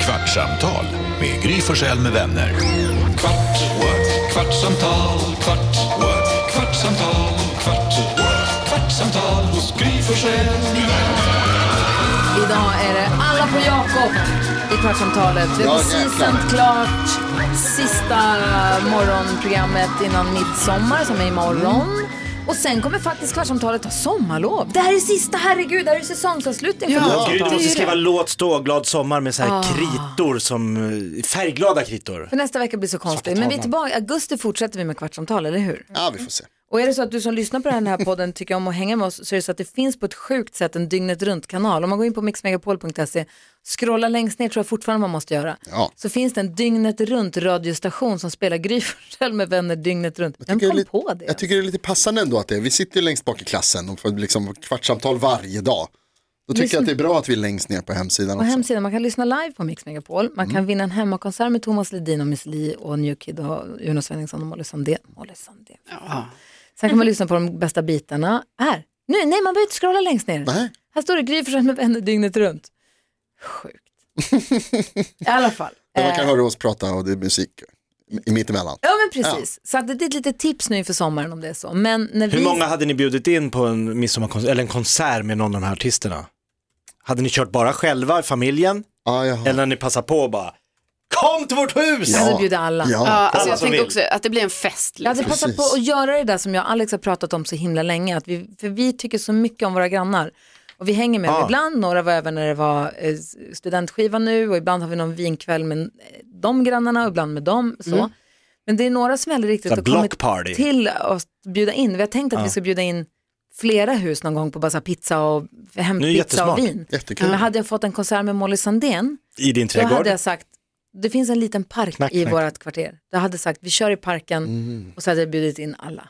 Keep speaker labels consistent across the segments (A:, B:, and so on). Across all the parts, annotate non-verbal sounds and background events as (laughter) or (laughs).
A: Kvartsamtal med Gry Forssell med vänner. Kvart, what? kvartsamtal, kvart, what? kvartsamtal, kvart, what? kvartsamtal hos Gry Forssell med vänner.
B: Idag är det alla på Jakob i Kvartsamtalet. Vi har
C: Ja,
B: precis
C: jäklar.
B: sänt klart sista morgonprogrammet innan midsommar som är imorgon.
C: Mm.
B: Och sen kommer faktiskt Kvartsamtalet ha sommarlov. Det här är sista, herregud, det här är säsongsavslutningen för
D: Gud, du
B: Kvartsamtalet.
D: måste skriva låt stå glad sommar med så
B: Ah.
D: här kritor som eh, färgglada kritor.
B: För nästa vecka blir så konstigt. Men vi är tillbaka, i augusti fortsätter vi med Kvartsamtal, eller hur?
C: Ja, vi får se.
B: Och är det så att du som lyssnar på den här podden tycker om att hänga med oss så är det så att det finns på ett sjukt sätt en dygnet runt-kanal. Om man går in på mixmegapol.se, scrolla längst ner tror jag fortfarande man måste göra,
C: Ja.
B: så finns det en dygnet runt-radiostation som spelar Gry Forssell med vänner dygnet runt. Vem
C: tycker
B: kom
C: det är lite,
B: på det?
C: Jag tycker det är lite passande ändå att det är. Vi sitter ju längst bak i klassen och får liksom kvartssamtal varje dag. Då tycker jag att det är bra att vi är längst ner på hemsidan
B: På
C: också.
B: hemsidan, man kan lyssna live på Mix Megapol, man kan vinna en hemmakonsert med Thomas Ledin och Miss Li och New Kid och Jonas Svenningsson och Molly Sandén. Molly Sandén. Sen kan man lyssna på de bästa bitarna. Här, nu, nej man behöver inte scrolla längst ner.
C: Nej.
B: Här står det Gry Forssell med vänner dygnet runt. Sjukt. I alla fall.
C: Där man
B: Eh,
C: kan höra oss prata och det är musik i mittemellan.
B: Ja men precis, så att det är ett litet tips nu inför sommaren om det är så. Men när
D: Hur
B: vi...
D: många hade ni bjudit in på en midsommarkonsert, eller en konsert med någon av de här artisterna? Hade ni kört bara själva, familjen?
C: Ah, jaha.
D: Eller när ni passar på och bara, kom till vårt hus!
B: Alltså bjuda alla.
E: Ja,
C: Ja.
E: alltså jag
D: som
E: tänker
D: vill.
E: också att det blir en fest.
B: Jag
E: Liksom.
B: hade passat på
C: Precis.
B: att göra det där som jag och Alex har pratat om så himla länge. Att vi, för vi tycker så mycket om våra grannar. Och vi hänger med dem
D: Ah.
B: ibland. Några var över när det var eh, studentskiva nu och ibland har vi någon vinkväll med eh, de grannarna och ibland med dem. Så. Men det är några som aldrig riktigt
D: Så
B: har
D: block
B: kommit
D: party.
B: till att bjuda in. Vi har tänkt att vi ska bjuda in flera hus någon gång på bara så här pizza och hämtpizza och
D: jättesmart.
B: vin.
C: Jättekul.
B: Men hade jag fått en konsert med Molly Sandén,
D: I din
B: då
D: trädgård?
B: hade jag sagt, det finns en liten park
D: Knack,
B: i
D: knack. Mm.
B: vårt kvarter. Då hade jag sagt, vi kör i parken och så hade jag bjudit in alla.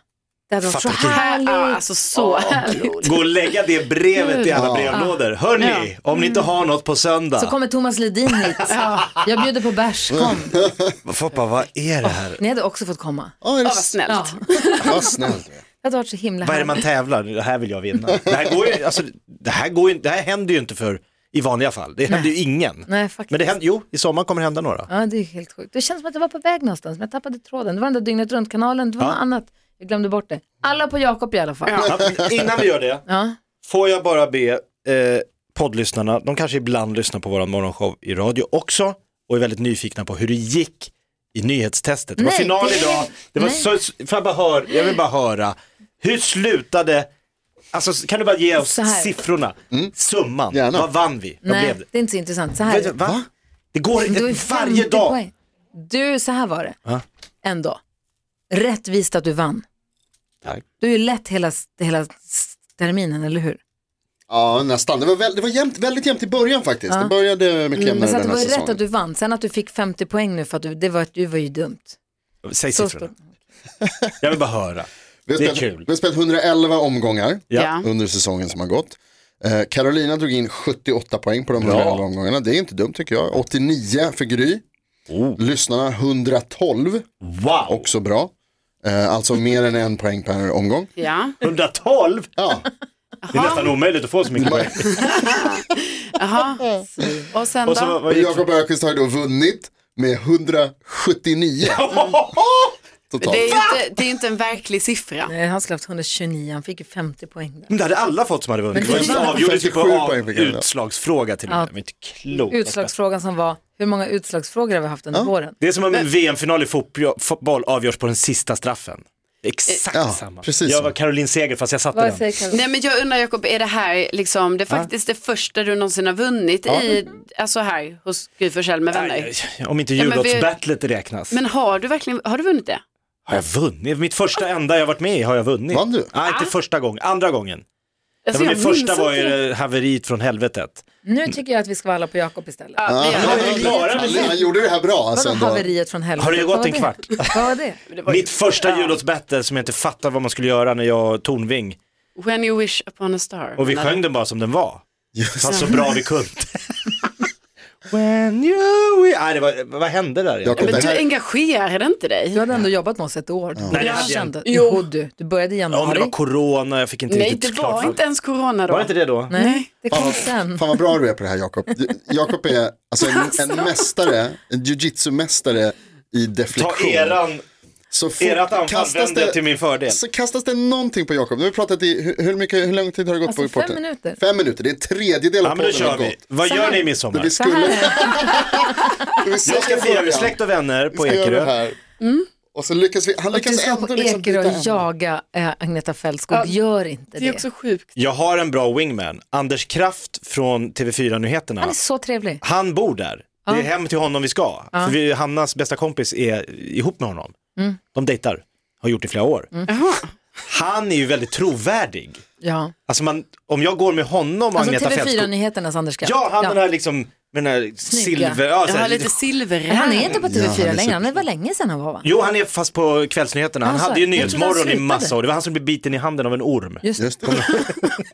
B: Det hade varit så
D: Fattar du?
B: härligt.
E: Ja, alltså så härligt.
D: Gå och lägga det brevet i alla brevlådor. Hörni, om ni inte har något på söndag.
B: Så kommer Thomas Ledin
E: (laughs)
B: hit. Jag bjuder på bärs, kom.
D: Foppa, vad är det här?
B: Ni hade också fått komma.
C: Ja, är det
E: Vad snällt.
B: Ja.
C: Vad snällt.
B: Det hade varit så himla
D: Vad är det man
B: härligt.
D: tävlar? Det här vill jag vinna. Det här, går ju, alltså, det här, går ju, det här händer ju inte för i vanliga fall. Det händer ju ingen.
B: Nej, faktiskt.
D: Men det händer, jo, i sommar kommer det hända några.
B: Ja, det är helt sjukt. Det känns som att jag var på väg någonstans, men jag tappade tråden. Det var den där dygnet runt-kanalen, det var
D: Ja.
B: något annat. Jag glömde bort det. Alla på Jakob i alla fall. Ja.
D: Ja, men Innan vi gör det, får jag bara be eh, poddlyssnarna, de kanske ibland lyssnar på vår morgonshow i radio också och är väldigt nyfikna på hur det gick i nyhetstestet. Det var
B: Nej,
D: final
B: det-
D: idag, det var
B: nej.
D: så, så- får jag, bara hör, jag vill bara höra, hur slutade, alltså kan du bara ge oss
B: Så här. Mm.
D: siffrorna, summan,
C: Gärna.
D: vad vann vi? Vad
B: Nej,
D: blev det?
B: det är inte så intressant. Så här.
D: Vet du, Va? Det går
B: Men
D: inte
B: är
D: (laughs) varje
B: 50
D: dag.
B: poäng. Du, så här var det.
D: Ja.
B: Ändå. Rättvist att du vann.
D: Tack.
B: Du är ju lätt hela, hela s- terminen, eller hur?
C: Ja, nästan. Det var, väl, det var jämnt, väldigt jämnt i början faktiskt. Det började mycket
B: Mm.
C: jämnare
B: Men så att
C: den
B: det var
C: här
B: ju rätt
C: säsongen.
B: att du vann. Sen att du fick 50 poäng nu för att du, det var, du var ju dumt.
D: Säg
B: Så
D: siffrorna,
B: stor.
D: jag vill bara höra.
C: Vi har
D: Det är
C: spelat,
D: kul.
C: vi har spelat 111 omgångar
E: Ja.
C: under säsongen som har gått. Eh, Carolina drog in 78 poäng på de 111 omgångarna. Det är inte dumt tycker jag. 89 för Gry. Lyssnarna 112,
D: Wow,
C: också bra. Eh, alltså mer än en poäng per omgång.
E: Ja.
D: 112?
C: Ja,
D: Det är nästan omöjligt att få så mycket poäng.
E: Jaha. Och sen
D: Och så,
E: då?
D: vad gick det?
C: Jakob Öqvist har ju då vunnit med 179 totalt.
E: Det är, ju inte, det är ju inte en verklig siffra.
B: Nej, han skulle haft 129, han fick ju 50 poäng. Där.
D: (laughs) Men det hade alla fått som hade vunnit.
B: Men det
D: Det
B: var-
D: avgjordes ju på
C: 57
D: av-
C: poäng fick jag.
D: utslagsfråga till och med. Det var inte klokt.
B: Utslagsfrågan som var, hur många utslagsfrågor har vi haft under våren?
D: Det är som om en VM-final i fotbo- fotboll avgörs på den sista straffen. Det är Exakt
C: Ja,
D: samma.
C: precis
D: jag
C: så.
D: var Caroline Seger fast jag satte
B: Vad
D: den.
B: säger Karin?
E: Nej men jag undrar Jakob, är det här liksom, det är faktiskt det första du någonsin har vunnit i, alltså här hos Gry Forssell med vänner?
D: Nej, Om inte
E: Ja, men vi-
D: jullåtsbattlet räknas.
E: Men har du verkligen, har du vunnit det?
D: Har jag vunnit? Mitt första enda jag varit med i har jag vunnit.
C: Vann du?
D: Nej, inte första gången. Andra gången.
E: Ah. Alltså,
D: ja, men det
E: minns
D: första var
E: inte det.
D: ju haveriet från helvetet.
B: Nu tycker jag att vi ska vara alla på Jakob istället.
E: Ja, det
C: Ja,
E: gör
D: är
E: det.
D: ju klara med
C: han, han gjorde det här bra. Alltså,
B: Vadå
C: ändå.
B: haveriet från helvete?
D: Har det gått
B: Vad var
D: en kvart?
B: Vad var det?
D: Mitt första jullåtsbattle som jag inte fattade vad man skulle göra när jag och Tornving
E: When you wish upon a star.
D: och vi
E: Men-
D: sjöng den bara som den var.
C: Just.
D: Fast så bra vi kunde. When you... will- Nej, det var, vad hände där egentligen?
C: Jag kom-
E: Men
C: det
E: du
C: här-
E: engagerade
B: Du
E: inte dig.
B: hade ändå jobbat med oss ett år.
D: Nej, det
B: jag
D: hade jag
B: kände,
E: inte. Jo.
B: jo. Du, du började i
D: Ja, men det
B: januari.
D: var corona, jag fick inte
E: Nej,
D: riktigt
E: det var
D: för-
E: inte ens corona då.
D: Var det inte det då?
B: Nej, det kom sen.
C: Fan vad bra du är på det här
E: (laughs)
C: Jakob. Du- Jakob är alltså en, en mästare, en jujitsu-mästare i
D: Ta
C: deflektion.
D: eran,
C: så fort-
D: erat anfall
C: kastas
D: vänder
C: det,
D: jag till min fördel.
C: Så kastas det någonting på Jakob. Nu har vi pratat i, hur, hur mycket, hur lång tid har det gått
B: Alltså,
C: på
B: fem
C: reporten?
B: minuter.
C: Fem minuter, det är en tredjedel av
D: Ja, men då
C: podden
D: kör
C: har
D: vi.
C: gått.
D: Vad
B: Så
D: gör
B: här.
D: ni i
C: Men
D: midsommar?
C: vi skulle... vi
D: Jag ska
C: säger
D: fira med
C: början.
D: släkt och vänner på
C: Vi ska göra det
D: Ekerö.
C: här. Och så lyckas vi, han
B: Mm. Du
C: lyckas
B: ska
C: ändå
B: på
C: liksom
B: Ekerö
C: byta
B: och
C: ämne.
B: jaga eh, Agneta Fältskog, gör inte
E: Det är
B: det.
E: också sjukt.
D: Jag har en bra wingman, Anders Kraft från TV4-nyheterna.
B: Han är så trevlig.
D: Han bor där. Det är hem till honom vi ska. För vi, Hannas bästa kompis är ihop med honom.
B: Mm.
D: De dejtar, har gjort i flera år. Han är ju väldigt trovärdig.
B: Ja.
D: Alltså man, om jag går med honom och
B: Alltså
D: Agneta Fältskog.
B: TV4-nyheternas Anders Kraft.
D: Ja, han den här liksom, med den här
B: Snygga.
D: silver... Ja, så
E: Jag
D: här-
E: har lite silver.
B: Men Han är inte på
C: Ja,
B: TV4
C: han är
B: längre, han
C: super-
B: är väl länge sedan han var va?
D: Jo, han är fast på kvällsnyheterna. Han
B: Alltså,
D: hade ju
B: jag trodde han
D: Nyhetsmorgon i
B: slutade.
D: massa år. Det var han som blev biten i handen av en orm.
B: Just
C: (laughs)
B: det.
C: Just det.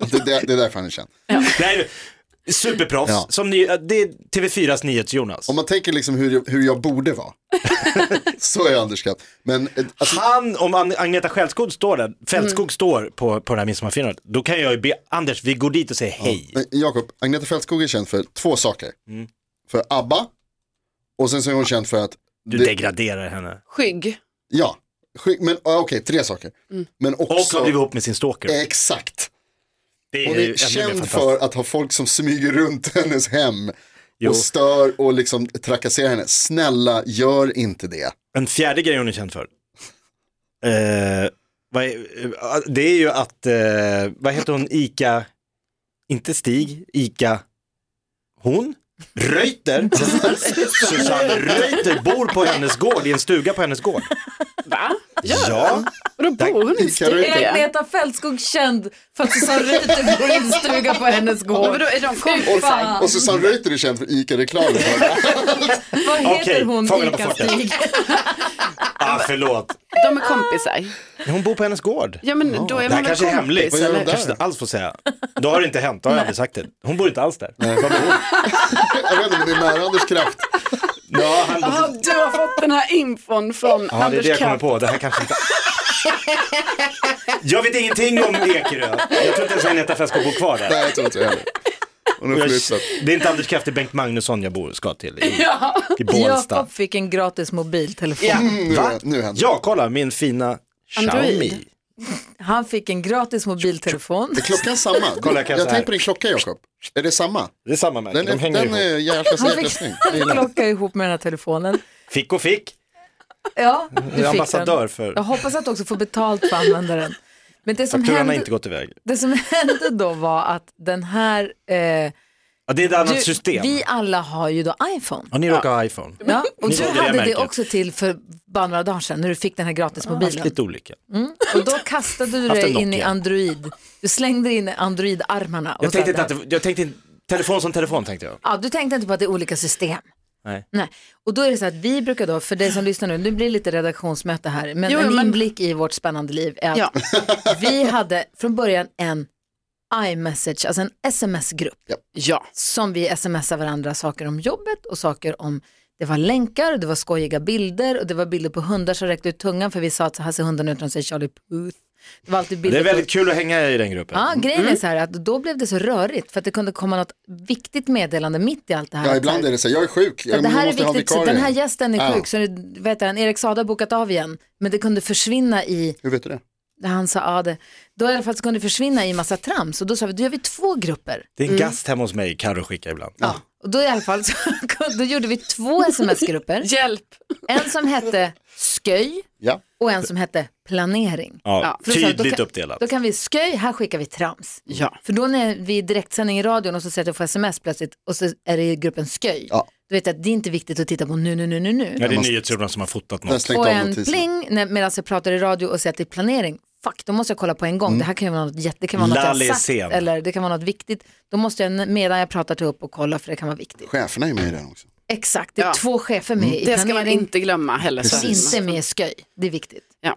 C: Alltså, det, det, det är därför han är känd.
D: Nej, superproffs.
C: Ja.
D: Som ny, det är TV4s Nyhets-Jonas.
C: Om man tänker liksom hur, hur jag borde vara. (laughs) så är Anders Kraft. Men eh, alltså,
D: Han, om An- Agneta Fältskog står där, Fältskog
C: Mm.
D: står på, på det här midsommarfirandet, då kan jag ju be Anders, vi går dit och säger hej. Mm.
C: men Jakob, Agneta Fältskog är känd för två saker. För ABBA och sen så är hon känd för att...
D: Du
C: det-
D: degraderar henne.
E: Skygg.
C: Ja, skick- men ja, okej, tre saker.
B: Mm.
C: Men
D: Och
C: också...
D: har blivit ihop med sin stalker.
C: Exakt.
D: Det
C: Eh, Hon
D: ju
C: är
D: ännu mer
C: känd
D: fantastiskt.
C: för att ha folk som smyger runt (laughs) hennes hem
D: Jo.
C: och stör och liksom trakasserar henne. Snälla, gör inte det.
D: En fjärde grej hon är känd för. Eh, vad är, eh, det är ju att, eh, vad heter hon, Ica, inte Stig, Ica, hon?
C: (laughs)
D: Reuter, Susanne Reuter bor på hennes gård, i en stuga på hennes gård.
E: Va?
D: Ja,
E: Och då bor hon i en
C: Ica Ruter.
B: Är
E: stuga.
B: Agneta Fältskog känd för att (laughs) Susanne Reuter går in i stuga på hennes
E: Men
B: gård?
E: vadå, är de kompisar?
C: Och Susanne Reuter är känd för ICA-reklamen.
B: Vad heter
D: Okej,
B: hon?
D: fångarna på
B: Ica
D: fortet.
B: Stig?
D: ah, förlåt.
E: De är kompisar.
D: Hon bor på hennes gård.
E: Ja, men då
D: det här
E: är man väl
D: kanske är hemligt.
C: Vad
E: kompis?
C: gör de
E: Eller?
D: Jag kanske inte alls får säga. Då har det inte hänt, då har jag aldrig sagt det. Hon bor inte alls där.
C: jag vet inte, men det är nära Anders Kraft.
D: Ja, han,
E: Jaha, du har fått den här infon från
D: ja, det är
E: Anders
D: det jag kommer
E: Kraft.
D: på. Det här kanske inte... Jag vet ingenting om Ekerö. Jag tror inte ens Agneta Fältskog bor kvar där.
C: Nej, jag tror inte det heller. Hon har
D: Jag,
C: flyttat.
D: det är inte Anders Kraft, det är Bengt Magnusson jag bor, ska till (laughs) i, i Bålsta.
B: Jakob fick en gratis mobiltelefon.
C: Mm, Nu,
D: Va?
C: nu händer det.
D: Ja, kolla min fina
E: Android.
D: Xiaomi.
B: Han fick en gratis mobiltelefon.
C: Är klockan samma?
D: Kolla, jag kan
C: jag
D: så här.
C: tänkte på din klocka, Jakob. Är det samma?
D: Det är samma märke,
C: Den,
D: de
C: är,
D: hänger
C: den
D: ihop.
C: är jäkla,
B: Han
C: jäkla
B: fick
C: snygg.
B: en (laughs) klocka ihop med den här telefonen.
D: Fick och fick.
B: Ja, du fick
D: är ambassadör
B: den.
D: för-
B: Jag hoppas att du också får betalt för att använda den. Men det som,
D: Fakturan har
B: hände,
D: inte gått iväg.
B: det som hände då var att den här... Eh,
D: Ja, det är ett annat
B: du-
D: system.
B: vi alla har ju då iPhone.
D: Ja, ni råkar ha iPhone.
B: Ja, och
D: Ni
B: du
D: valde det
B: hade det
D: märket.
B: också till för bara några dagar sedan när du fick den här
D: Fast
B: gratismobilen.
D: lite olika.
B: Och då kastade du
D: Haft en
B: dig in i
D: Nokia.
B: Android. Du slängde in i Android-armarna. och
D: Jag tänkte
B: sa
D: inte
B: där.
D: att det, jag tänkte inte, telefon som telefon tänkte jag.
B: Ja, du tänkte inte på att det är olika system.
D: Nej.
B: Nej. Och då är det så att vi brukar då, för dig som lyssnar nu, nu blir det lite redaktionsmöte här, men
E: Jo,
B: en
E: men-
B: inblick i vårt spännande liv är att
E: Ja.
B: vi hade från början en iMessage, alltså en sms-grupp
E: ja.
B: som vi smsar varandra saker om jobbet och saker om det var länkar, och det var skojiga bilder och det var bilder på hundar som räckte ut tungan för vi sa att så här ser hunden ut när de säger Charlie Puth. Det var alltid
D: Det
B: bilder
D: är väldigt
B: på...
D: kul att hänga i den gruppen.
B: Ja, grejen är så här att då blev det så rörigt för att det kunde komma något viktigt meddelande mitt i allt det här.
C: Ja,
B: Att
C: ibland
B: så
C: är
B: här,
C: det så. här, Jag är sjuk.
B: så
C: Jag
B: det här är
C: måste ha
B: viktigt, så
C: vikarie.
B: den här gästen är
C: Ja.
B: sjuk, så det, vet han, Erik Saade har bokat av igen, men det kunde försvinna i
C: Hur vet du det?
B: där han sa, ja det, då i alla fall så kunde det försvinna i massa trams och då sa vi, då gör vi två grupper.
D: Det är en gast hemma hos mig, Carro skickar ibland.
B: Mm. Ja. Och då i alla fall så (laughs) då gjorde vi två sms-grupper,
E: Hjälp.
B: en som hette sköj
C: Ja.
B: och en som hette planering.
D: Ja,
B: För då sa jag,
D: tydligt
B: då kan,
D: uppdelat.
B: Då kan vi sköj, här skickar vi trams.
E: Ja.
B: För då när vi är i direktsändning i radion och så säger jag att jag får sms plötsligt och så är det i gruppen sköj.
C: Ja.
B: Då vet jag att det är inte viktigt att titta på nu, nu, nu, nu, nu.
D: Ja, det är NyhetsJonas som har fotat
C: Den har
D: något.
C: slängt
B: och
C: av
B: en
C: notisen.
B: pling när- medan jag pratar i radio och säger att det är planering. Fuck, då måste jag kolla på en gång. Det här kan ju vara något, jätte- det kan vara något jag
D: Lally är
B: har sagt
D: sen.
B: eller det kan vara något viktigt. Då måste jag medan jag pratar ta upp och kolla för det kan vara viktigt.
C: Cheferna är med i den också.
B: Exakt, det är
E: Ja.
B: två chefer med i
E: Det ska man
B: planering.
E: inte glömma heller. så.
B: Inte med i sköj, det är viktigt.
E: Ja.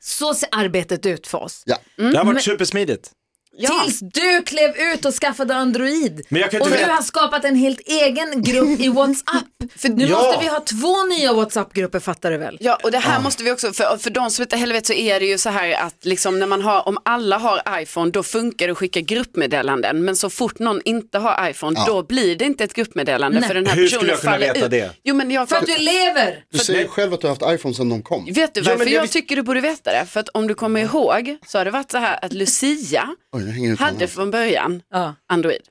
B: Så ser arbetet ut för oss.
C: Ja.
E: Mm.
B: Mm,
D: Det har varit supersmidigt.
E: Ja.
B: Tills du klev ut och skaffade Android.
D: Men jag kan
B: och
D: inte
B: nu
D: veta-
B: har skapat en helt egen grupp i WhatsApp.
E: (laughs)
B: För nu
D: Ja.
B: måste vi ha två nya WhatsApp-grupper fattar du väl?
E: Ja, och det här måste vi också, för, för de som inte helvete så är det ju så här att liksom när man har, om alla har iPhone då funkar det att skicka gruppmeddelanden, men så fort någon inte har iPhone då blir det inte ett gruppmeddelande
B: Nej.
E: för den här
D: Hur skulle
E: personen
D: jag kunna
E: faller
D: veta
E: ut.
D: det?
E: Jo, men jag,
B: För att du lever!
C: Du säger själv att du har haft iPhone sedan de kom.
E: Vet du
D: Ja, men
E: varför
D: det-
E: jag tycker du borde veta det? För att om du kommer ihåg så har det varit så här att Lucia
C: Oj, jag hänger ut
E: hade
C: handen.
E: från början
B: Ja.
E: Android.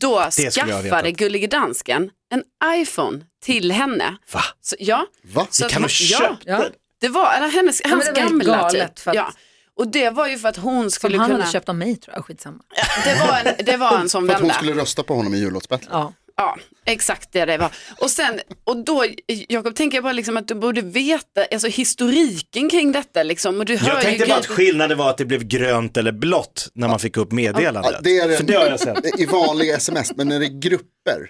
E: Då
D: skulle jag ha
E: skaffade
D: vetat.
E: Gullige Dansken en iPhone till henne.
D: Va?
E: Så, ja.
C: Va?
E: Så att
D: Kan de
E: hon- ja,
D: köpa?
B: Ja.
E: det var eller, hennes,
B: men
E: hans
B: det var helt
E: gamla
B: galet
E: typ.
B: för att-
E: ja. Och det var ju för att hon
B: Som
E: skulle
B: han
E: kunna...
B: hade köpt av mig tror jag, skitsamma.
E: Det, var en, det var
D: (laughs)
E: en sån
C: För att hon
E: vända.
C: skulle rösta på honom i jullåtsbattlet.
B: Ja.
E: Ja, exakt det det var. Och sen, och då, Jakob, tänker jag bara liksom att du borde veta alltså, historiken kring detta. Liksom. Och du hör
D: Jag tänkte
E: ju
D: bara att
E: grejer-
D: skillnaden var att det blev grönt eller blått när man fick upp meddelandet.
C: Ja, det är det.
D: För det har
B: (laughs)
D: jag sett.
C: I vanliga sms, men när det är grupper.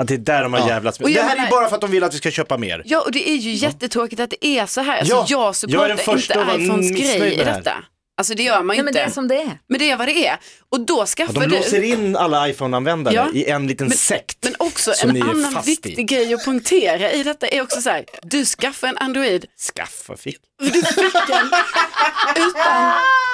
D: Att det är där de har jävlats med.
E: Och
D: Det
E: jag
D: här är
E: menar-
D: ju bara för att de vill att vi ska köpa mer.
E: Ja, och det är ju jättetråkigt att det är så här. Alltså,
D: Ja, jag är
E: jag supportar
D: den första att
E: inte
D: vara
E: iPhones
D: missnöjd
E: grej i
D: med det här.
E: detta. Alltså det gör man ju
B: Nej, men
E: inte.
B: det är som det är.
E: Men det är vad det är. Och då
D: Ja,
E: skaffar
D: de låser
E: du...
D: in alla iPhone-användare
E: Ja.
D: i en liten sekt.
E: Men också
D: som ni
E: en
D: är
E: annan
D: fast i.
E: viktig grej att punktera i detta är också så här, du skaffar en Android
D: Skaffa fick.
E: utan,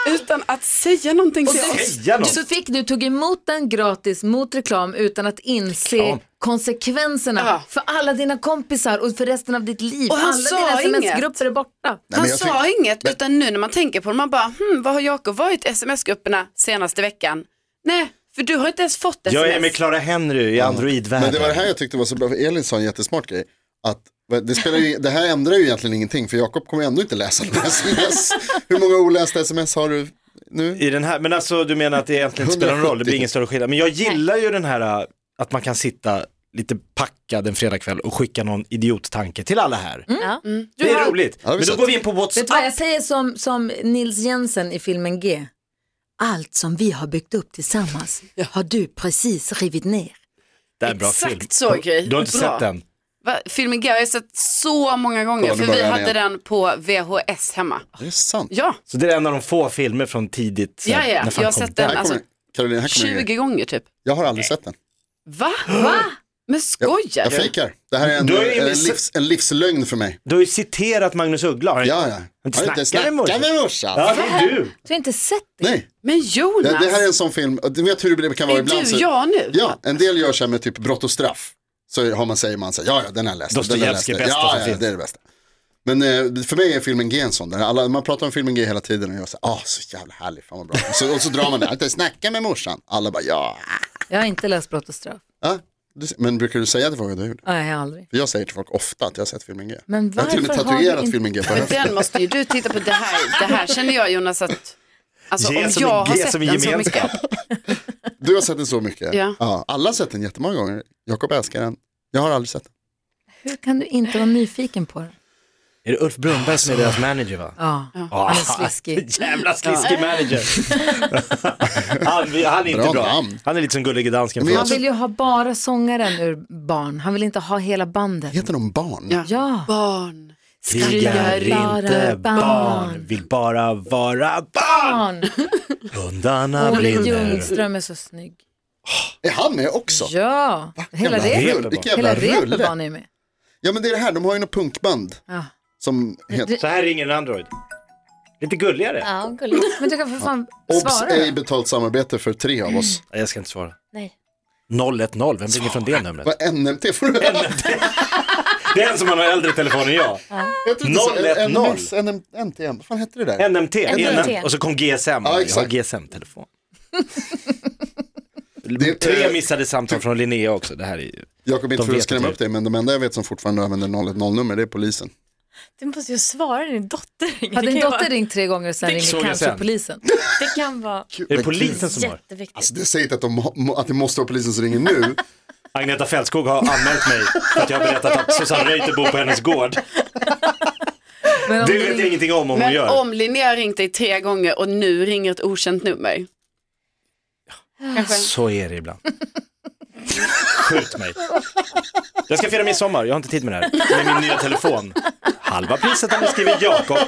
E: utan att säga någonting till
D: du-
E: oss.
D: Säga något.
B: Du fick, du tog emot den gratis mot reklam utan att inse
D: Reklam.
B: konsekvenserna
E: Ja.
B: för alla dina kompisar och för resten av ditt liv.
E: Och han
B: alla
E: sa
B: dina
E: inget.
B: sms-grupper är borta.
C: men
E: Han
C: jag
E: sa inget, utan nu när man tänker på det, man bara, hmm, vad har Jakob varit i sms-grupperna senaste veckan? Nej, för du har inte ens fått sms.
D: Jag är med Clara Henry i
C: Men det var det
D: Android-världen.
C: här jag tyckte var så bra, för Elin sa en jättesmart grej. Att det, spelar ju, det här ändrar ju egentligen ingenting, för Jakob kommer ändå inte läsa dina sms. Hur många olästa sms har du nu?
D: I den här, men alltså du menar att det egentligen inte spelar någon roll, det blir
C: 170.
D: ingen större skillnad. Men jag gillar ju den här äh, att man kan sitta lite packad en fredagkväll och skicka någon idiottanke till alla här.
B: Ja.
E: Mm.
D: Det är roligt.
C: har vi
D: men då
C: sett.
D: går vi in på
B: Mm. Vet
D: WhatsApp.
B: du vad, jag säger som, som Nils Jensen i filmen G. Allt som vi har byggt upp tillsammans har du precis rivit ner.
D: Det är en bra
E: Exakt
D: film.
E: så, Gry.
D: Du har inte
E: Bra.
D: sett den?
E: Va? Filmen G har jag sett så många gånger,
C: Kolla, nu
E: för vi
C: börjar han
E: hade den på VHS hemma.
C: Det är sant.
E: Ja,
D: Så det är en av de få filmer från tidigt. så här,
E: Ja, ja,
D: när fan
E: jag har
D: kom
E: sett den.
C: Här
E: alltså-
C: kommer, Caroline, här kommer 20...
E: 20 gånger typ.
C: Jag har aldrig sett den.
E: Va? Va? Men skojar
C: Jag
E: du?
C: fejkar. Det här är en,
D: Du har ju
C: en,
D: missat-
C: livs, en livslögn för mig.
D: Du har ju citerat Magnus Uggla. har du
C: Ja,
D: inte?
C: ja.
D: Inte
C: Har du
D: snacka med morsan?
C: med morsan?
D: Ja, det är du.
B: Du har inte sett det?
C: Nej,
E: Men Jonas,
C: det, det här är en sån film, och du vet hur det kan vara
E: är
C: ibland.
E: du
C: så-
E: jag nu?
C: Ja, en del gör så här med typ brott och straff. Så har man, säger man så här, ja ja den har jag läst. den har jag läst.
D: Dostojevskij är bästa
C: ja,
D: som
C: ja,
D: finns.
C: det är det bästa. Men eh, för mig är filmen G en sån, där alla, man pratar om filmen G hela tiden och jag säger, ah så jävla härlig, fan vad bra. Och så, och så drar man det, inte snacka med morsan. Alla bara, ja.
B: Jag har inte läst Brott och straff.
C: ja. Du, men brukar du säga till folk att du har gjort det?
B: Nej, jag har aldrig.
C: För jag säger till folk ofta att jag har sett filmen G.
B: Men
C: jag har till och med
B: varför har du
C: tatuerat
B: inte-
C: filmen G på
E: Men
C: höften.
E: den måste ju du titta på. Det här, det här känner jag Jonas att, alltså
D: Ge
E: om
D: som
E: jag
D: en-
E: har
D: ge
E: sett
D: som en
E: den så
D: gemenskap.
E: mycket.
C: Du har sett den så mycket.
E: Ja.
C: alla har sett den jättemånga gånger. Jakob älskar den. Jag har aldrig sett den.
B: Hur kan du inte vara nyfiken på den?
D: Är det Ulf Brunnberg som är deras manager va?
B: Ja, han är
D: (laughs)
B: sliskig.
D: Jävla sliskig manager. han, han är inte
C: Bra
D: bra.
C: namn.
D: Han är lite som Gullige Dansken.
C: Men jag
B: Han
D: förut.
B: vill ju ha bara sångaren ur barn. Han vill inte ha hela bandet.
C: Heter de barn?
E: Ja.
B: Ja.
E: Barn.
D: Krigar inte barn, vill bara vara barn.
B: Barn.
D: Hundarna
B: Olle
D: brinner.
B: Ljungström är så snygg.
C: Är han med också?
B: Ja, hela repet.
D: rulle.
C: Vilken
B: Hela
C: jävla
B: repet var
C: rulle.
B: ni med.
C: Ja men det är det här, de har ju något punkband
B: Ja.
C: som heter
D: Så här ringer en Android. Lite gulligare.
B: Ja, gulligt. Men du kan för fan
C: Obs,
D: eh,
B: svara
C: ej
B: då.
C: betalt samarbete för tre av oss.
D: Nej, Jag ska inte svara.
B: Nej.
D: 010, vem ringer från det numret?
C: Vad NMT får du?
D: Det är en som har en äldre telefon än jag.
C: (laughs) Jag tror inte så.
D: 010.
C: NMS, NM, NTM, vad fan hette det där?
D: NMT,
B: NMT.
D: och så kom GSM. jag har
C: exakt.
D: GSM-telefon.
C: Det-
D: Tre
C: eh,
D: missade samtal från Linnea också. Det här är ju...
C: Jakob, inte
D: De
C: för att
D: vet
C: skrämma
D: inte.
C: upp dig, men de enda jag vet som fortfarande använder 010-nummer, det är polisen.
F: Du måste ju svara när din dotter ringer.
B: Har din
F: det, kan ju
B: dotter
F: vara,
B: ringt tre gånger och sen ringer
D: såg jag
B: kanske
D: sen.
B: polisen?
F: det kan vara
D: Är det polisen som har?
F: jätteviktigt.
C: Alltså det säger inte att, de, må- att det måste vara polisen som ringer
D: (laughs)
C: nu.
D: Agneta Fältskog har anmält mig för att jag har berättat att Susanne Reuter bor på hennes gård.
B: Men om
D: Det
B: du
D: vet jag
B: ringer-
D: ingenting om om hon
E: Men
D: gör.
E: om Linnea har ringt dig tre gånger och nu ringer ett okänt nummer. Kanske.
D: Så är det ibland. Skjut mig. Jag ska fira midsommar, jag har inte tid med det här. Med min nya telefon. Halva priset om du skriver Jakob.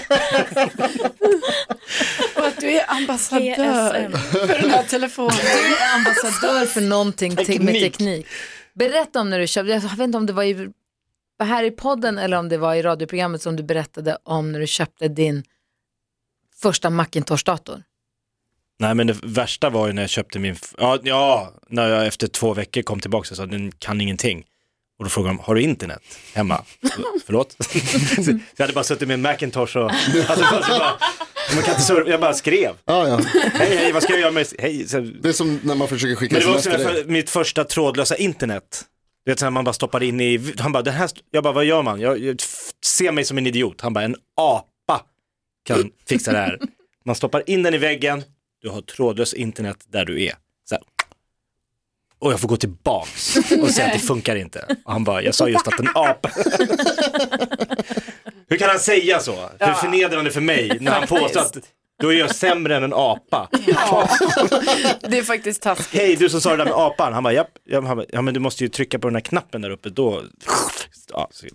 E: Och att du är
B: Alltså,
E: ambassadör
F: PSM.
E: för den här telefonen.
B: Du är ambassadör för någonting te- med
D: Teknik.
B: teknik. Berätta om när du köpte, jag vet inte om det var, i, var här i podden eller om det var i radioprogrammet som du berättade om när du köpte din första Macintosh-dator.
D: Nej men det värsta var ju när jag köpte min, f- ja, ja när jag efter två veckor kom tillbaka och sa den kan ingenting. Och då frågade de, har du internet hemma? Förlåt? (laughs) så jag hade bara suttit med en Macintosh och, alltså, alltså, bara, man kan inte surfa, jag bara skrev.
C: Ja, ja.
D: Hej, hej, vad ska jag göra med, hej. Så, men
C: Det är som när man försöker skicka
D: det var också
C: sms till
D: när
C: dig.
D: jag- mitt första trådlösa internet. Du vet, så här, man bara stoppar in i, han bara, den här, st-" jag bara, vad gör man? Jag, jag f- ser mig som en idiot. Han bara, en apa kan fixa
C: (laughs)
D: det här. Man stoppar in den i väggen, du har trådlöst internet där du är. Så här. Och jag får gå tillbaks och säga att det funkar inte. Och han bara, jag sa just att en apa...
C: (laughs)
D: Hur kan han säga så? Hur förnedrande för mig när han påstår att då är jag sämre än en apa.
E: Det är faktiskt taskigt.
D: Hej, du som sa det där med apan. Han bara, japp. Ja, han bara, ja men du måste ju trycka på den här knappen där uppe då. Ja, så,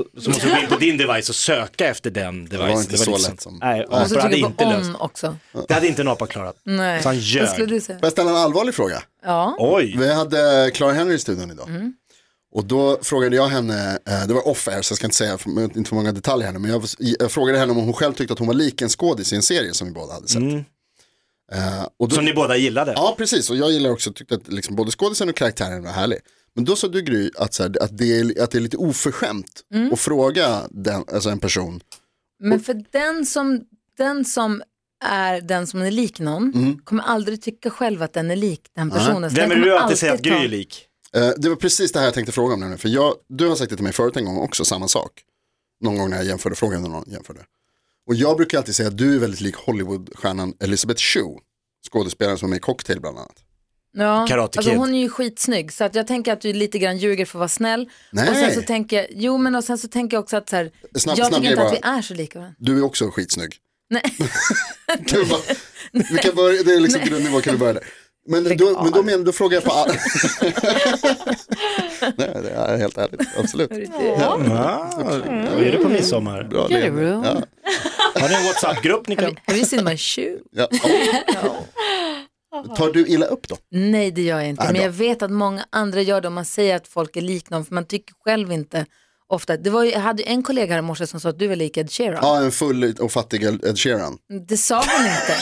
D: och så måste du gå in på din device och söka efter den device.
C: inte så
D: lite
C: lätt
D: sånt.
C: som-
D: Nej,
B: Och
D: apor
B: så
D: hade
B: trycker du
D: inte
B: på
D: löst.
B: on också.
D: Det hade inte en apa klarat.
B: Nej,
D: Så han ljög.
B: vad skulle du säga?
C: Får jag ställa en allvarlig fråga?
B: Ja.
D: Oj,
C: Vi hade Clara Henry i studion idag. Och då frågade jag henne, eh, det var off-air så jag ska inte säga för, inte för många detaljer här nu, men jag, jag frågade henne om hon själv tyckte att hon var lik en skådis i en serie som vi båda hade sett. Eh, och då,
D: som Mm. ni båda gillade.
C: Ja, precis. Och jag gillar också, tyckte att liksom, både skådisen och karaktären var härlig. Men då sa du Gry att, så här, att, det, är, att det är lite oförskämt att fråga den, alltså en person.
B: Men för den som, den som är den som är lik någon kommer aldrig tycka själv att den är lik den personen. Så den
D: Mm. Vem är
B: kommer
D: du alltid säger att Gry
B: ta-
D: är lik?
C: Eh, det var precis det här jag tänkte fråga om nämligen. För jag, du har sagt det till mig förut en gång också, samma sak. Någon gång när jag jämförde frågan när någon jämförde. Och jag brukar alltid säga att du är väldigt lik Hollywoodstjärnan Elizabeth Shue. Skådespelaren som är med i Cocktail bland annat.
B: Ja,
D: Karate
B: alltså
D: Kid.
B: hon är ju skitsnygg så att jag tänker att du lite grann ljuger för att vara snäll.
C: Nej.
B: Och sen så tänker jag, jo men och sen så tänker jag också att så här,
C: Snabb- snabb
B: jag tycker inte
C: grej
B: att vi är så lika varandra.
C: Du är också skitsnygg. (laughs)
B: Nej.
C: Kan vi bara, vi kan börja, det är liksom grundnivå, kan vi börja där. Men då, men då, men, då frågar jag på all... Nej, det är helt ärligt, absolut.
D: Ah, Vad är det på
B: Mm.
D: midsommar?
C: Bra, det är- ja,
D: Har ni en WhatsApp-grupp ni kan?
B: Have you seen my shoe?
C: ja. Tar du illa upp då?
B: Nej det gör jag inte,
C: Nej,
B: men
C: bra.
B: jag vet att många andra gör det om man säger att folk är lik någon för man tycker själv inte ofta. Det var ju, jag hade ju en kollega här i morse som sa att du är lik Ed Sheeran.
C: Ja, en full och fattig Ed Sheeran.
B: Det sa hon inte.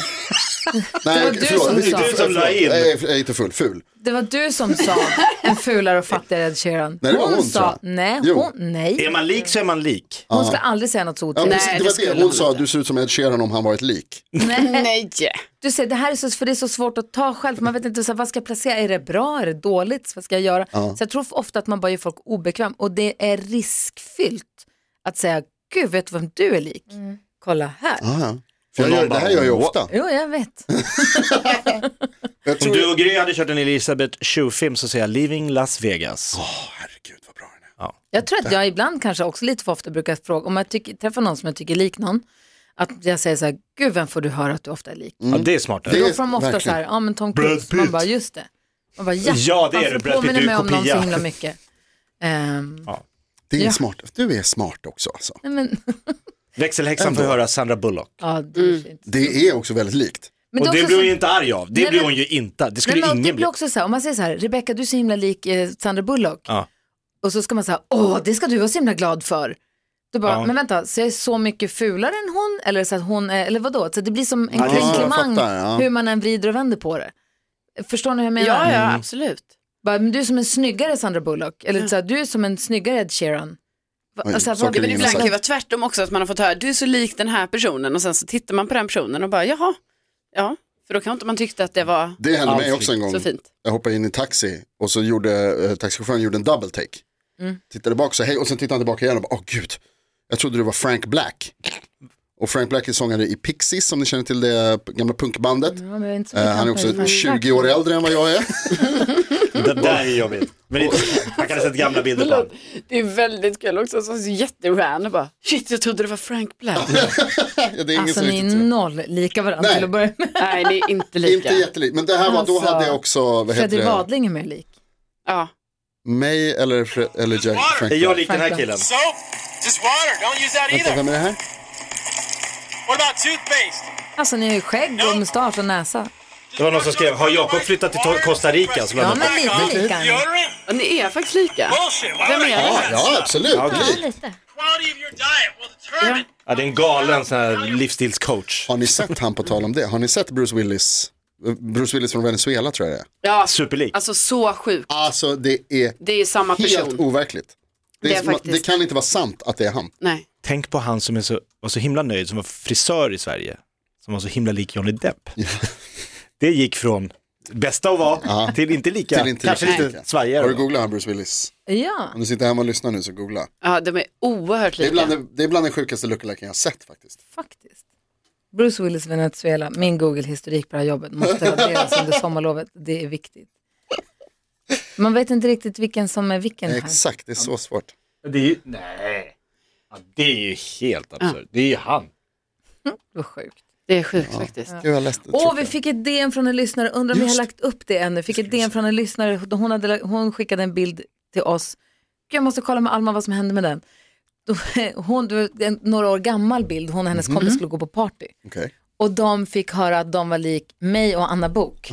C: Nej,
B: var du som
C: förlåt.
B: sa. Det är du
D: som la in.
C: Nej, jag är inte full, ful.
B: Det var du som sa en fulare och fattigare Ed Sheeran.
C: Nej, det var hon,
B: sa,
C: tror jag.
B: nej,
C: Jo.
B: hon, nej.
D: Är man lik så är man lik.
B: Hon ska aldrig säga något så
C: Ja,
B: otrevligt.
C: precis,
E: Nej,
C: det
E: det
C: var det.
E: skulle
C: Hon
E: hon
C: sa att
E: inte.
C: du ser ut som Ed Sheeran om han varit lik.
E: Nej.
B: Du säger, det här är så, för det är så svårt att ta själv, för man vet inte så här, vad ska jag placera, är det bra, är det dåligt, vad ska jag göra? Så jag tror ofta att man bara gör folk obekväm och det är riskfyllt att säga, gud vet du vem du är lik? Kolla här.
C: Aha. För jag
D: någon
C: gör, det här
D: bara,
C: gör jag
D: "Wow."
C: ofta.
B: Jo, jag vet.
C: Jag
D: Om
C: tror...
D: du och Gry hade kört en Elisabeth Shue-film så säger jag Leaving Las Vegas.
C: Åh, herregud vad bra den är.
B: Jag tror att jag ibland kanske också lite för ofta brukar fråga, om jag tycker, träffar någon som jag tycker är lik någon, att jag säger så här, gud vem får du höra att du ofta är lik?
D: Ja,
C: Mm.
D: det är smartare.
C: Det-
B: Då
C: är
B: får de ofta
C: verkligen-
B: så här, ja men Tom Cruise, man bara just det. Man bara, ja,
D: Ja, det är
B: varför
D: det. Brad Pitt,
B: påminner
D: du är
B: mig om någon
D: kopia.
B: så himla mycket. Ehm,
C: Det är
B: Ja.
C: smart. Du är smart också alltså.
B: nej men, (laughs)
D: Växelhäxan får höra Sandra Bullock.
B: ja, det
C: Mm.
B: är fint.
C: Det är också väldigt likt.
B: Men
D: Och
B: är
D: det
B: också
D: blir
B: så-
D: hon ju inte arg av. Det
B: Nej,
D: blir
B: men-
D: hon ju inte. Det
B: Nej,
D: skulle
B: men det
D: ingen bli.
B: blir också så här, om man säger så här, Rebecca du är så himla lik eh, Sandra Bullock.
D: Ja.
B: Och så ska man säga, åh det ska du vara så himla glad för. Då bara,
D: Ja.
B: men vänta, så jag är så mycket fulare än hon? Eller så att hon är, eller vadå? Så det blir som en
C: Ja, det-
B: komplimang
C: jag fattar, ja.
B: hur man än vrider och vänder på det. Förstår ni hur jag menar?
E: Ja, ja, absolut.
B: Bara, men du är som en snyggare Sandra Bullock. Eller så här, du är som en snyggare Ed Sheeran. Va-
C: Oj,
B: alltså,
C: saker
B: vad-
C: och ting
E: Men
C: Ingen
E: ibland
C: har
E: kan det
C: sagt.
E: vara tvärtom också, att man har fått höra, du är så lik den här personen och sen så tittar man på den personen och bara, jaha, ja, för då kan inte man tyckte att det var
C: Det hände mig
D: Allt
C: också en gång.
E: så fint.
C: Jag hoppade in i taxi och så gjorde eh, taxichauffören gjorde en double take. Tittade bak så hej och sen tittade han tillbaka igen och bara, åh gud, jag trodde det var Frank Black. Och Frank Black är sångare i Pixies, om ni känner till det gamla punkbandet.
B: Ja, men jag är Mm. inte så
C: Eh,
B: bekant
C: han är
B: med
C: också
B: det.
C: 20 år äldre än vad jag är. (laughs)
D: Det där är jobbigt. Men inte, man kan ha sett gamla bilder på honom.
E: Det är väldigt kul också, så jätterandom bara, shit jag trodde det var Frank
C: (laughs)
E: Black.
C: det är ingen
B: Alltså
C: som
B: ni
C: riktigt
B: är
C: tror.
B: noll lika varandra
C: Nej.
B: till att börja med.
E: Nej, det är inte lika.
C: Inte jättelik, men det här var, då
B: Alltså,
C: hade jag också, vad heter
B: Fredrik
C: det?
B: Wadling är mer lik.
E: Ja,
C: Mig eller, Fre- eller Jack Frank
D: Är jag lik den här
B: Frank
D: killen?
G: Soap, just water. Don't use that
C: Vänta,
G: either.
C: vem är det här?
G: What about toothpaste?
B: Alltså ni har ju skägg och mustasch och näsa.
D: Det var någon som skrev, har Jakob flyttat till To- Costa Rica? Som
B: Ja,
D: jag
B: men lite lika.
G: Deodorant?
E: Ja, Ni är faktiskt lika.
G: Bullshit. Why
E: Vem
G: would I
E: är
G: do
C: Ja,
E: det?
G: that?
C: ja absolut.
F: Ja,
C: Lik.
F: lite.
G: Quality of your diet will determine.
D: ja, det är en galen sån här livsstilscoach.
C: Har ni sett han på tal om det? Har ni sett Bruce Willis? Bruce Willis från Venezuela tror jag det är.
E: Ja,
D: Superlik.
E: alltså så sjukt.
C: Alltså det är
E: Det är samma
C: helt
E: person.
C: overkligt. Det,
E: Det
C: är
E: är
C: som,
E: faktiskt-
C: det kan inte vara sant att det är han.
E: Nej.
D: Tänk på han som är så, var så himla nöjd, som var frisör i Sverige, som var så himla lik
C: (laughs)
D: Johnny Depp. Det gick från bästa att vara till inte lika,
C: Till inte
D: kanske
C: lika.
D: lite svajigare.
C: Har du googlat han Bruce Willis?
B: Ja,
C: Om du sitter hemma och lyssnar nu så googla.
E: Ja, de är oerhört
C: Det är bland,
E: lika.
C: det, det är bland den sjukaste lookaliken jag har sett faktiskt.
B: faktiskt. Bruce Willis Venezuela, min Google-historik på det här jobbet måste raderas under sommarlovet. Det är viktigt. Man vet inte riktigt vilken som är vilken här.
C: Exakt, det är så svårt.
D: Det är ju, nej, ja, det är ju helt absurt. Det är ju han.
B: Det var sjukt.
E: Det är sjukt faktiskt.
C: Gud, jag läste,
B: Åh, vi fick ett DM från en lyssnare, undrar om vi har lagt upp det ännu. Fick ett DM från en lyssnare, hon, hade, la- hon skickade en bild till oss. Gud, Jag måste kolla med Alma vad som hände med den. Då- (laughs) Hon, det var en några år gammal bild, hon och hennes
C: Mhm.
B: kompis skulle gå på party.
C: Okej.
B: Och de fick höra att de var lik mig och
C: (laughs)
B: Anna Bok.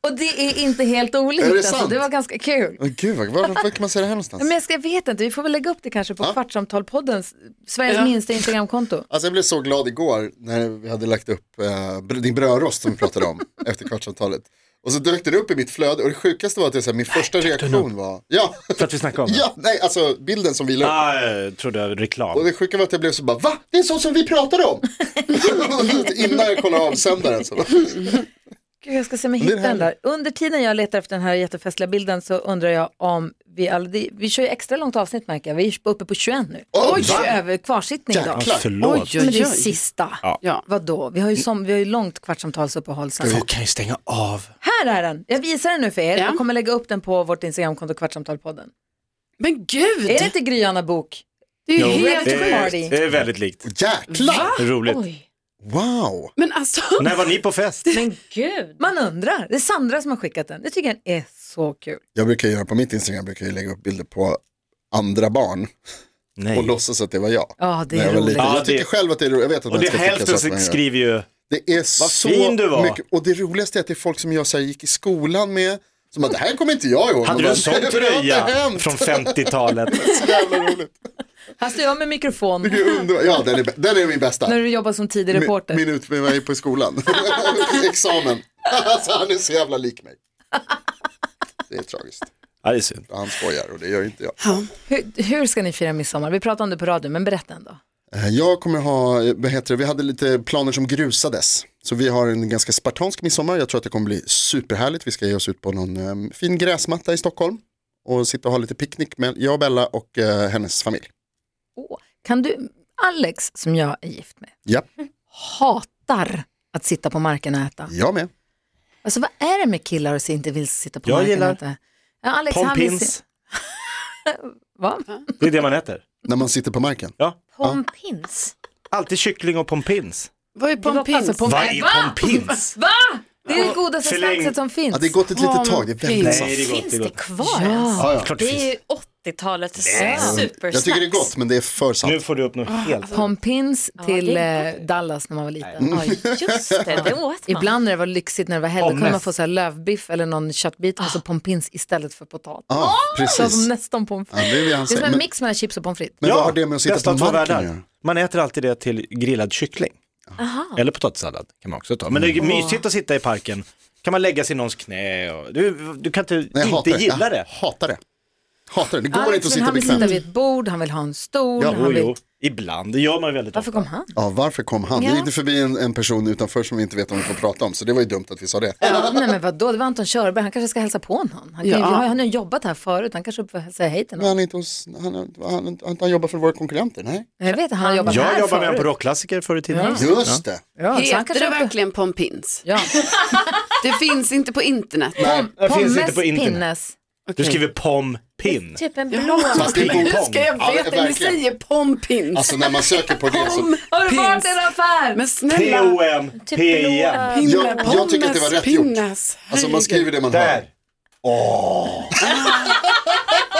B: och det är inte helt olikt.
C: Är det
B: alltså.
C: sant?
B: det var ganska kul.
C: Åh, Gud, var, var, var kan man se det här någonstans?
B: Ja, Men jag, ska, jag vet inte, vi får väl lägga upp det kanske på Kvartsamtalpoddens, Sveriges
E: Ja.
B: minsta Instagramkonto.
C: Alltså jag blev så glad igår när vi hade lagt upp eh, br- din brödrost som vi pratade
D: (laughs)
C: om efter kvartsamtalet. Och så dök den upp i mitt flöde och det sjukaste var att jag, så här, min första reaktion var, ja, (laughs)
D: För att vi snackade om det.
C: ja, nej, alltså bilden som vi la upp.
D: Ah, jag trodde jag reklam.
C: Och det sjuka var att jag blev så bara, va? Det är så som vi pratade
D: (laughs)
C: om! (laughs) Innan jag kollade avsändaren så.
B: Gud, jag ska se om jag
C: Men det är
B: hittar den där. Under tiden jag letar efter den här jättefestliga bilden så undrar jag om vi aldrig, vi kör ju extra långt avsnitt märker jag, vi är uppe på 21 nu.
C: Oj, va?
B: över kvarsittning idag.
D: Ja, Ah, förlåt.
E: Oj,
B: Men det är ju
E: oj, oj.
B: sista.
E: Ja.
B: Vadå? Vi har ju, som, vi har ju långt kvartsamtalsuppehåll sen.
D: Folk kan ju stänga av.
B: Här är den, jag visar den nu för er.
E: Ja.
B: Jag kommer lägga upp den på vårt Instagramkonto Kvartsamtalpodden.
E: Men gud,
B: Är det inte Gry Anna Bok?
E: det är ju
D: Jo,
E: helt
D: det, är,
B: sjukt.
D: det är väldigt likt.
C: Jäklar!
D: Roligt.
F: Oj,
C: Wow!
E: Men alltså, (laughs)
D: När var ni
B: (laughs)
D: på fest?
F: men gud.
B: Man undrar. Det är Sandra som har skickat den. Det tycker jag är så kul.
C: Jag brukar göra på mitt Instagram, brukar jag lägga upp bilder på andra barn och
D: Nej.
C: låtsas att det var jag.
B: Ja, det
C: När
B: är
C: jag, var
B: roligt.
C: liten.
D: Ja,
C: jag tycker
D: det-
C: själv att det är roligt, jag vet att
D: Och
C: man
D: det
C: ska tycka så
D: hälften
C: att man gör.
D: skriver ju
C: Det är
D: Vad
C: så
D: fin du var.
C: mycket, och det roligaste är att det är folk som jag så här, gick i skolan med, som bara, det här kommer inte jag ihåg.
D: Hade
C: Man
D: du
C: bara,
D: en sån
C: "Det har inte
D: tröja
C: hänt."
D: från 50-talet?
C: (laughs) Så jävla roligt.
B: Här står jag med mikrofon
C: Det är underbart. Ja, den är, bä- den är min bästa.
B: när du jobbar som tidig reporter.
C: Min, min utbildning på skolan. (laughs) Examen. (laughs) Alltså, han är så jävla lik mig. Det är tragiskt.
D: Ja, det är synd.
C: Han skojar och det gör inte jag.
B: Hur, hur ska ni fira midsommar? Vi pratade om det på radio, men berätta ändå.
C: Eh, Jag kommer ha, eh, vad heter det, vi hade lite planer som grusades. Så vi har en ganska spartansk midsommar, jag tror att det kommer bli superhärligt. Vi ska ge oss ut på någon eh, fin gräsmatta i Stockholm och sitta och ha lite picknick med jag och Bella och eh, hennes familj.
B: Åh, kan du, Alex som jag är gift med,
C: Ja,
B: hatar att sitta på marken och äta.
C: jag med.
B: Alltså vad är det med killar som inte vill sitta på
D: Jag
B: marken
D: gillar
B: och äta? Ja, Alex, han vill se-
D: Pompins,
B: Va?
D: det är det man äter.
C: När man sitter på marken.
D: Ja.
F: Pompins.
D: Alltid kyckling och pompins.
E: vad är pompins?
B: Alltså, pom-
D: Vad är
B: Va?
D: pompins?
B: Det är det godaste
D: Förläng-
B: snackset som finns.
C: Ja, det har gått ett litet tag, det är väldigt
D: Nej,
C: sant.
D: det är gott.
F: Finns
D: Det är
F: det
D: gott.
F: kvar ens?
C: Ja, ja.
D: Klart det
F: Det är
D: finns.
F: ju 80-talets supersnacks.
C: Jag tycker det är gott men det är för sant.
D: Nu får du upp något helt.
B: Pompins
F: Ja,
B: till
F: det är
B: eh, Dallas när man var liten.
F: Ja, (laughs) just det. Det åt man.
B: Ibland när det var lyxigt när det var helg, då kunde
D: Pommes.
B: man få så här lövbiff eller någon köttbit och
F: Ah.
B: så pompins istället för potatis.
C: Ja,
B: Så
C: precis.
B: som nästan pommes
C: Ja, det är det han
B: Det är som
C: säger.
B: en
C: Men,
B: mix mellan chips och pommes frites.
C: men vad har det med att
D: bästa
C: sitta
D: två
C: på marken att
D: världar.
C: göra?
D: Man äter alltid det till grillad kyckling. Eller potatissallad kan man också ta. Men det är mysigt att sitta i parken. Kan man lägga sig i någons knä och du, du kan inte,
C: Nej, jag
D: inte
C: hatar
D: gilla
C: jag
D: det.
C: Hatar det. Hatar det, det går
B: Alex,
C: inte att
B: men
C: sitta
B: han vill sitta
C: bekvämt.
B: vid ett bord, han vill ha en stol.
C: Ja,
B: han
D: Jo,
B: vill...
D: jo, ibland. Det gör man väldigt
B: Varför
D: ofta.
B: kom han?
C: Ja, varför kom han? Vi gick förbi en, en person utanför som vi inte vet om vi får prata om, så det var ju dumt att vi sa det.
B: Nej men vadå, det var Anton Körberg, han kanske ska hälsa på någon. Han, kan, ju-
E: Ja.
B: han har ju jobbat här förut, han kanske får säga hej till
C: Men
B: någon.
C: han är inte hos, han, han, han, han, han jobbar för våra konkurrenter, nej.
B: Jag vet, han har jobbat här
D: Jag jobbade med
B: förut.
D: honom på rockklassiker förr i tiden.
C: Just det.
B: Ja, så han
E: Heter
B: kanske
E: det
B: har-
E: verkligen pompins?
B: Ja.
E: Det finns inte på internet.
D: (laughs) Det finns inte
B: Pommes
D: på internet.
B: pinnes.
D: Du
E: Okej.
D: skriver pom-pin.
F: Typ en blå.
C: Fast det är
E: Hur
C: god-
E: ska jag
C: Ja,
E: veta? Ni
C: verkligen.
E: säger pompins.
C: Alltså när man söker på det så...
B: Har du varit
E: Pins.
B: i en affär?
E: Men snälla,
D: P-O-M-P-I-M.
E: pinne,
C: Jag- jag tycker att det var
E: pommes,
C: rätt gjort.
E: pinnas.
C: Alltså man skriver det man hör.
D: Där.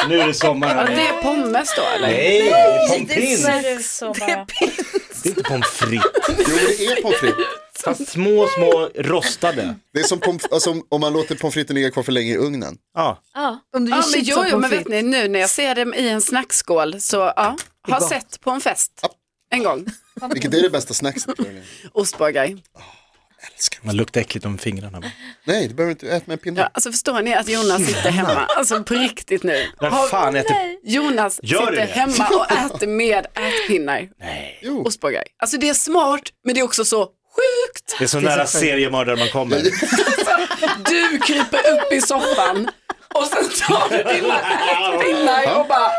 D: Nu är det sommar.
E: Det är pommes då eller?
D: Nej, det är pommes frites.
F: Så bara,
D: Det är inte pommes frites.
C: Jo, men det är pommes frites.
D: Fast små, små rostade.
C: Det är som pomf- alltså, om- om man låter pommes fritesen ligga kvar för länge i ugnen.
D: Ja.
B: Om du gör
E: Ja, men
B: chips
E: jo,
B: och
E: jo, men
B: pommes
E: vet
B: frites.
E: ni, nu när jag ser dem i en snackskål så, ja, har sett på en fest en gång.
C: Vilket är det bästa snackset? tror jag.
E: Ostbågar.
D: Man luktar äckligt om fingrarna. bara.
C: Nej, det behöver du inte äta med en pinne.
E: Ja, alltså förstår ni att Jonas sitter hemma, alltså på riktigt nu.
D: Vem
E: Har-
D: fan äter...
E: Jonas
D: Gör
E: sitter
D: det?
E: hemma och äter med ätpinnar.
C: Jo.
E: Ostbågar. Alltså det är smart, men det är också så sjukt.
D: Det är så nära seriemördare man kommer.
E: Du kryper upp i soffan och sen tar du dina ätpinnar och bara,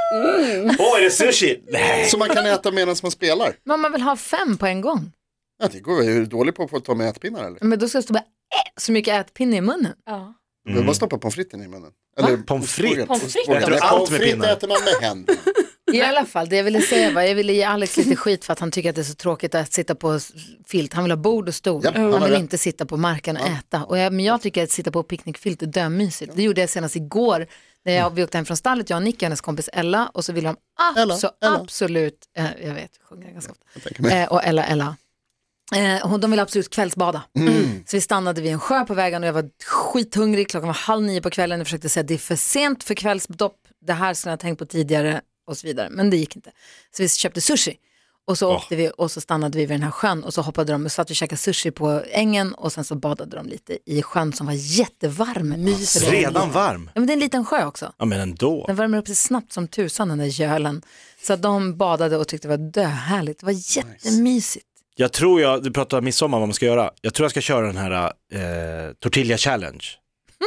D: Åh, är det sushi? Nej.
C: Som man kan äta medan man spelar.
B: Men om man vill ha fem på en gång,
C: Ja, det går väl. Är du dålig på, på att ta med ätpinnar eller?
B: men då ska det stå bara äh, så mycket ätpinne i munnen.
F: ja.
C: Du behöver bara stoppa pommes fritesen i munnen. Eller
D: Mm. Pommes frites?
C: ostbågen.
F: Pommes frites
C: Ostbågen.
D: då?
C: Nej,
D: Äter du allt
C: Pommes
D: med
C: frites
D: pinnar?
C: äter man med händerna.
B: I alla fall, det jag ville säga var, jag ville ge Alex lite skit för att han tycker att det är så tråkigt att sitta på s- filt. Han vill ha bord och stol.
C: Japp, han
B: han
C: har
B: vill
C: rätt.
B: inte sitta på marken och äta. Och jag, men jag tycker att sitta på picknickfilt är dömysigt. Det gjorde jag senast igår när jag, vi åkte hem från stallet, jag och Nicky och hennes kompis Ella. Och så ville de abso-
C: Ella, Ella.
B: absolut, eh, jag vet, jag sjunger ganska ofta. Eh, och Ella, Ella. Eh, hon- de ville absolut kvällsbada.
D: Mm.
B: Så vi stannade vid en sjö på vägen och jag var skithungrig. Klockan var halv nio på kvällen och försökte säga det är för sent för kvällsdopp. Det här skulle jag ha tänkt på tidigare och så vidare. Men det gick inte. Så vi köpte sushi. Och så åkte vi och så stannade vi vid den här sjön och så hoppade de och satt och käkade sushi på ängen och sen så badade de lite i sjön som var jättevarm. Mys för det.
D: Redan varm?
B: Ja, men det är en liten sjö också.
D: Ja, men ändå.
B: Den värmer upp sig snabbt som tusan den där gölen. Så att de badade och tyckte det var döhärligt. Det var jättemysigt.
D: Jag tror jag, du pratade om midsommar vad man ska göra. Jag tror jag ska köra den här eh, tortilla challenge.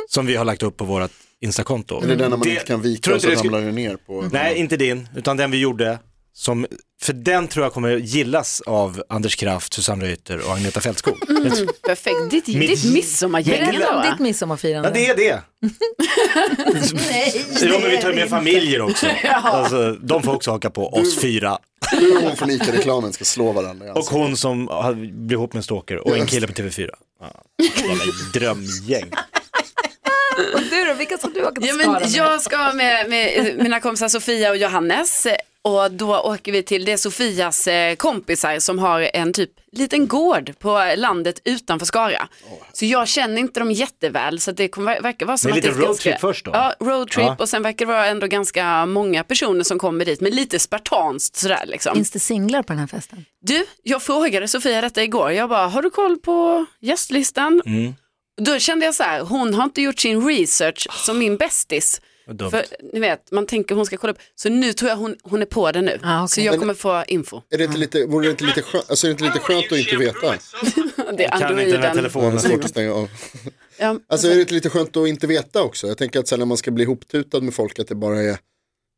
D: Som vi har lagt upp på vårt Instakonto.
C: Är det den när man
D: Det-
C: inte kan vika
D: tror
C: och så
D: inte det skulle-
C: ramlar det ner på... Mm.
D: Nej, inte din, utan den vi gjorde. Som, för den tror jag kommer gillas av Anders Kraft, Susanne Reuter och Agneta Fältskog. Jag tror-
E: perfekt, ditt, ditt midsommargäng
B: Berätta
E: ändå
B: om
E: va?
B: ditt midsommarfirande.
D: Ja, det är det.
E: (laughs)
B: Nej,
D: Ja, men vi tar med familjer också. Alltså, de får också haka på oss fyra.
C: Du och hon från ICA-reklamen ska slå varandra alltså. i
D: Och
C: ansiktet.
D: hon som har- blev ihop med en stalker och en kille på TV4. Ja, jävla drömgäng.
B: Och du då, vilka ska du åka till Skara
E: Ja, men
B: med?
E: jag ska med, med eh, mina kompisar Sofia och Johannes eh, och då åker vi till, det är Sofias eh, kompisar som har en typ liten gård på eh, landet utanför Skara. Så jag känner inte dem jätteväl så att det kommer, ver- verkar vara som
D: Det är
E: att det
D: lite
E: är
D: roadtrip
E: ganska,
D: först då?
E: Ja, roadtrip
D: Ja.
E: och sen verkar det vara ändå ganska många personer som kommer dit men lite spartanskt sådär liksom.
B: Finns det singlar på den här festen?
E: Du, jag frågade Sofia detta igår, jag bara har du koll på gästlistan?
D: Mm.
E: Då kände jag så här, hon har inte gjort sin research som min bästis.
D: Vad dumt.
E: För ni vet, man tänker hon ska kolla upp. Så nu tror jag hon, hon är på det nu.
B: Ah, okej.
E: Så jag kommer få info.
C: Är det inte lite, vore det inte lite skönt, alltså, är det inte lite skönt att inte veta?
E: Det är
D: Kan inte den här
E: androiden.
C: Det är
D: telefonen.
C: svårt att stänga av.
E: Ja,
C: Alltså är det inte lite skönt att inte veta också? Jag tänker att sen när man ska bli ihoptutad med folk att det bara är,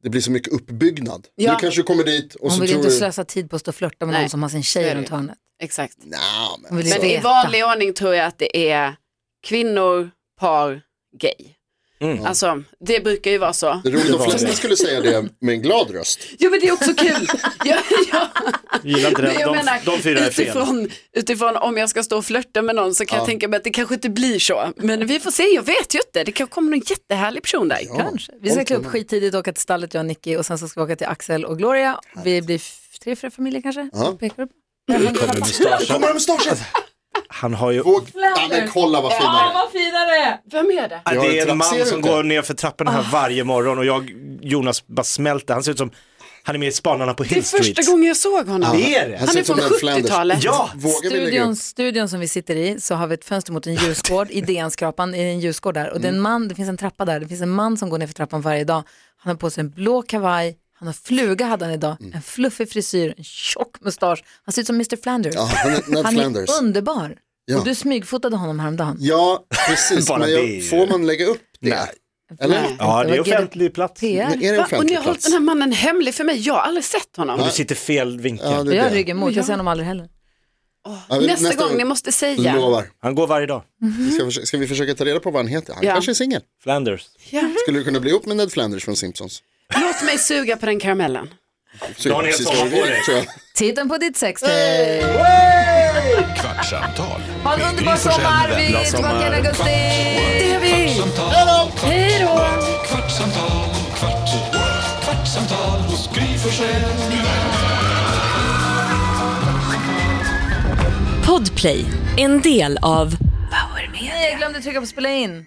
C: det blir så mycket uppbyggnad.
E: Ja.
C: Nu kanske du kommer dit och
B: Hon
C: så
B: vill ju
C: tror
B: inte
C: du,
B: slösa tid på att stå och flörta med
E: Nej,
B: någon som har sin
E: så är
B: tjej
E: det
B: runt
E: ju.
B: hörnet.
E: exakt.
C: Nja,
B: Hon
C: men alltså,
B: vill ju
E: Men i
B: veta.
E: vanlig ordning tror jag att det är kvinnor, par, gay.
D: Mm.
E: Alltså, det brukar ju vara så.
C: det är roligt
D: Det
C: om
D: var
C: flesta
D: det.
C: skulle säga det med en glad röst.
E: Jo men det är också kul. (laughs) ja, ja.
D: Gillar inte den.
E: Men jag
D: De,
E: menar,
D: de fyra är fel.
E: utifrån, utifrån om jag ska stå och flörta med någon så kan jag tänka mig att det kanske inte blir så. Men vi får se, jag vet ju inte. Det kanske kommer någon jättehärlig person där.
B: Kanske. Vi ska klä upp skittidigt och åka till stallet, jag och Nicky, och sen så ska vi åka till Axel och Gloria. Vi blir f- tre, fyra familjer kanske. som Pekar upp.
C: Kommer de med starsen?
D: Han har ju...
C: Och, ja men kolla vad fina de är.
E: Vem är det?
D: Ja,
C: Jag har
D: Det
C: en
D: är en
C: trapp, ser
D: man
C: du
D: som
C: inte?
D: går ner för trapporna
E: Ah.
D: här varje morgon och jag, Jonas, bara smälter. Han ser ut som, han är med i Spanarna på
E: Det är
D: Hill Street.
E: första gången jag såg honom.
D: Det är det.
C: Han
E: Han
C: ser
E: är
C: ut som
E: från
C: den Flanders.
E: 70-talet.
D: Ja,
C: Vågar vi lägga
B: Studion,
C: upp?
B: studion som vi sitter i så har vi ett
C: (laughs)
B: fönster mot en ljusgård, i DN-skrapan, i en ljusgård där. Och det, är
C: Mm.
B: en man, det finns en trappa där, det finns en man som går ner för trappan varje dag. Han har på sig en blå kavaj, han har fluga hade han idag,
C: Mm.
B: en fluffig frisyr, en tjock mustasch. Han ser ut som Mr Flanders.
C: Ja, han är Ned
B: han
C: Flanders.
B: är underbar.
C: Ja.
B: Och du smygfotade honom häromdagen.
C: Ja, precis.
D: (laughs) Bara
C: Men
D: det är ju-
C: jag, får man lägga upp det?
D: Nej.
C: Eller?
D: Ja, det
B: var
D: är offentlig plats.
B: GDPR.
C: Men är det en
E: Va? Och ni
C: offentlig
E: har hållit
C: plats?
E: den här mannen hemlig för mig. Jag har aldrig sett honom.
D: Ja, Du sitter fel vinkel.
C: Ja,
B: Och
C: det
B: jag har
C: är det.
B: ryggen mot, jag ser honom aldrig heller.
C: Ja, vi-
E: nästa, gång, ni måste säga.
C: Lovar.
D: Han går varje dag.
C: Ska, vi förs- ska vi försöka ta reda på vad han heter? Han
E: Ja.
C: kanske är singel.
D: Flanders.
C: Skulle du kunna bli ihop med Ned Flanders från Simpsons?
E: Låt mig suga på den karamellen.
C: Så,
D: har ni
C: precis
D: helt
C: vad vi
D: sommar på
C: vill,
D: dig.
C: tror jag.
B: Titten på ditt sextape.
A: Kvartsamtal
B: Ha en
A: med
B: underbar
A: Gry Forssell
B: sommar,
A: med
B: vi
A: vänner.
B: är tillbaka i augusti. Det är vi.
A: Kvartsamtal,
B: Hej då.
A: kvarts-
H: Podplay, en del av
B: Nej, jag glömde trycka på spela in.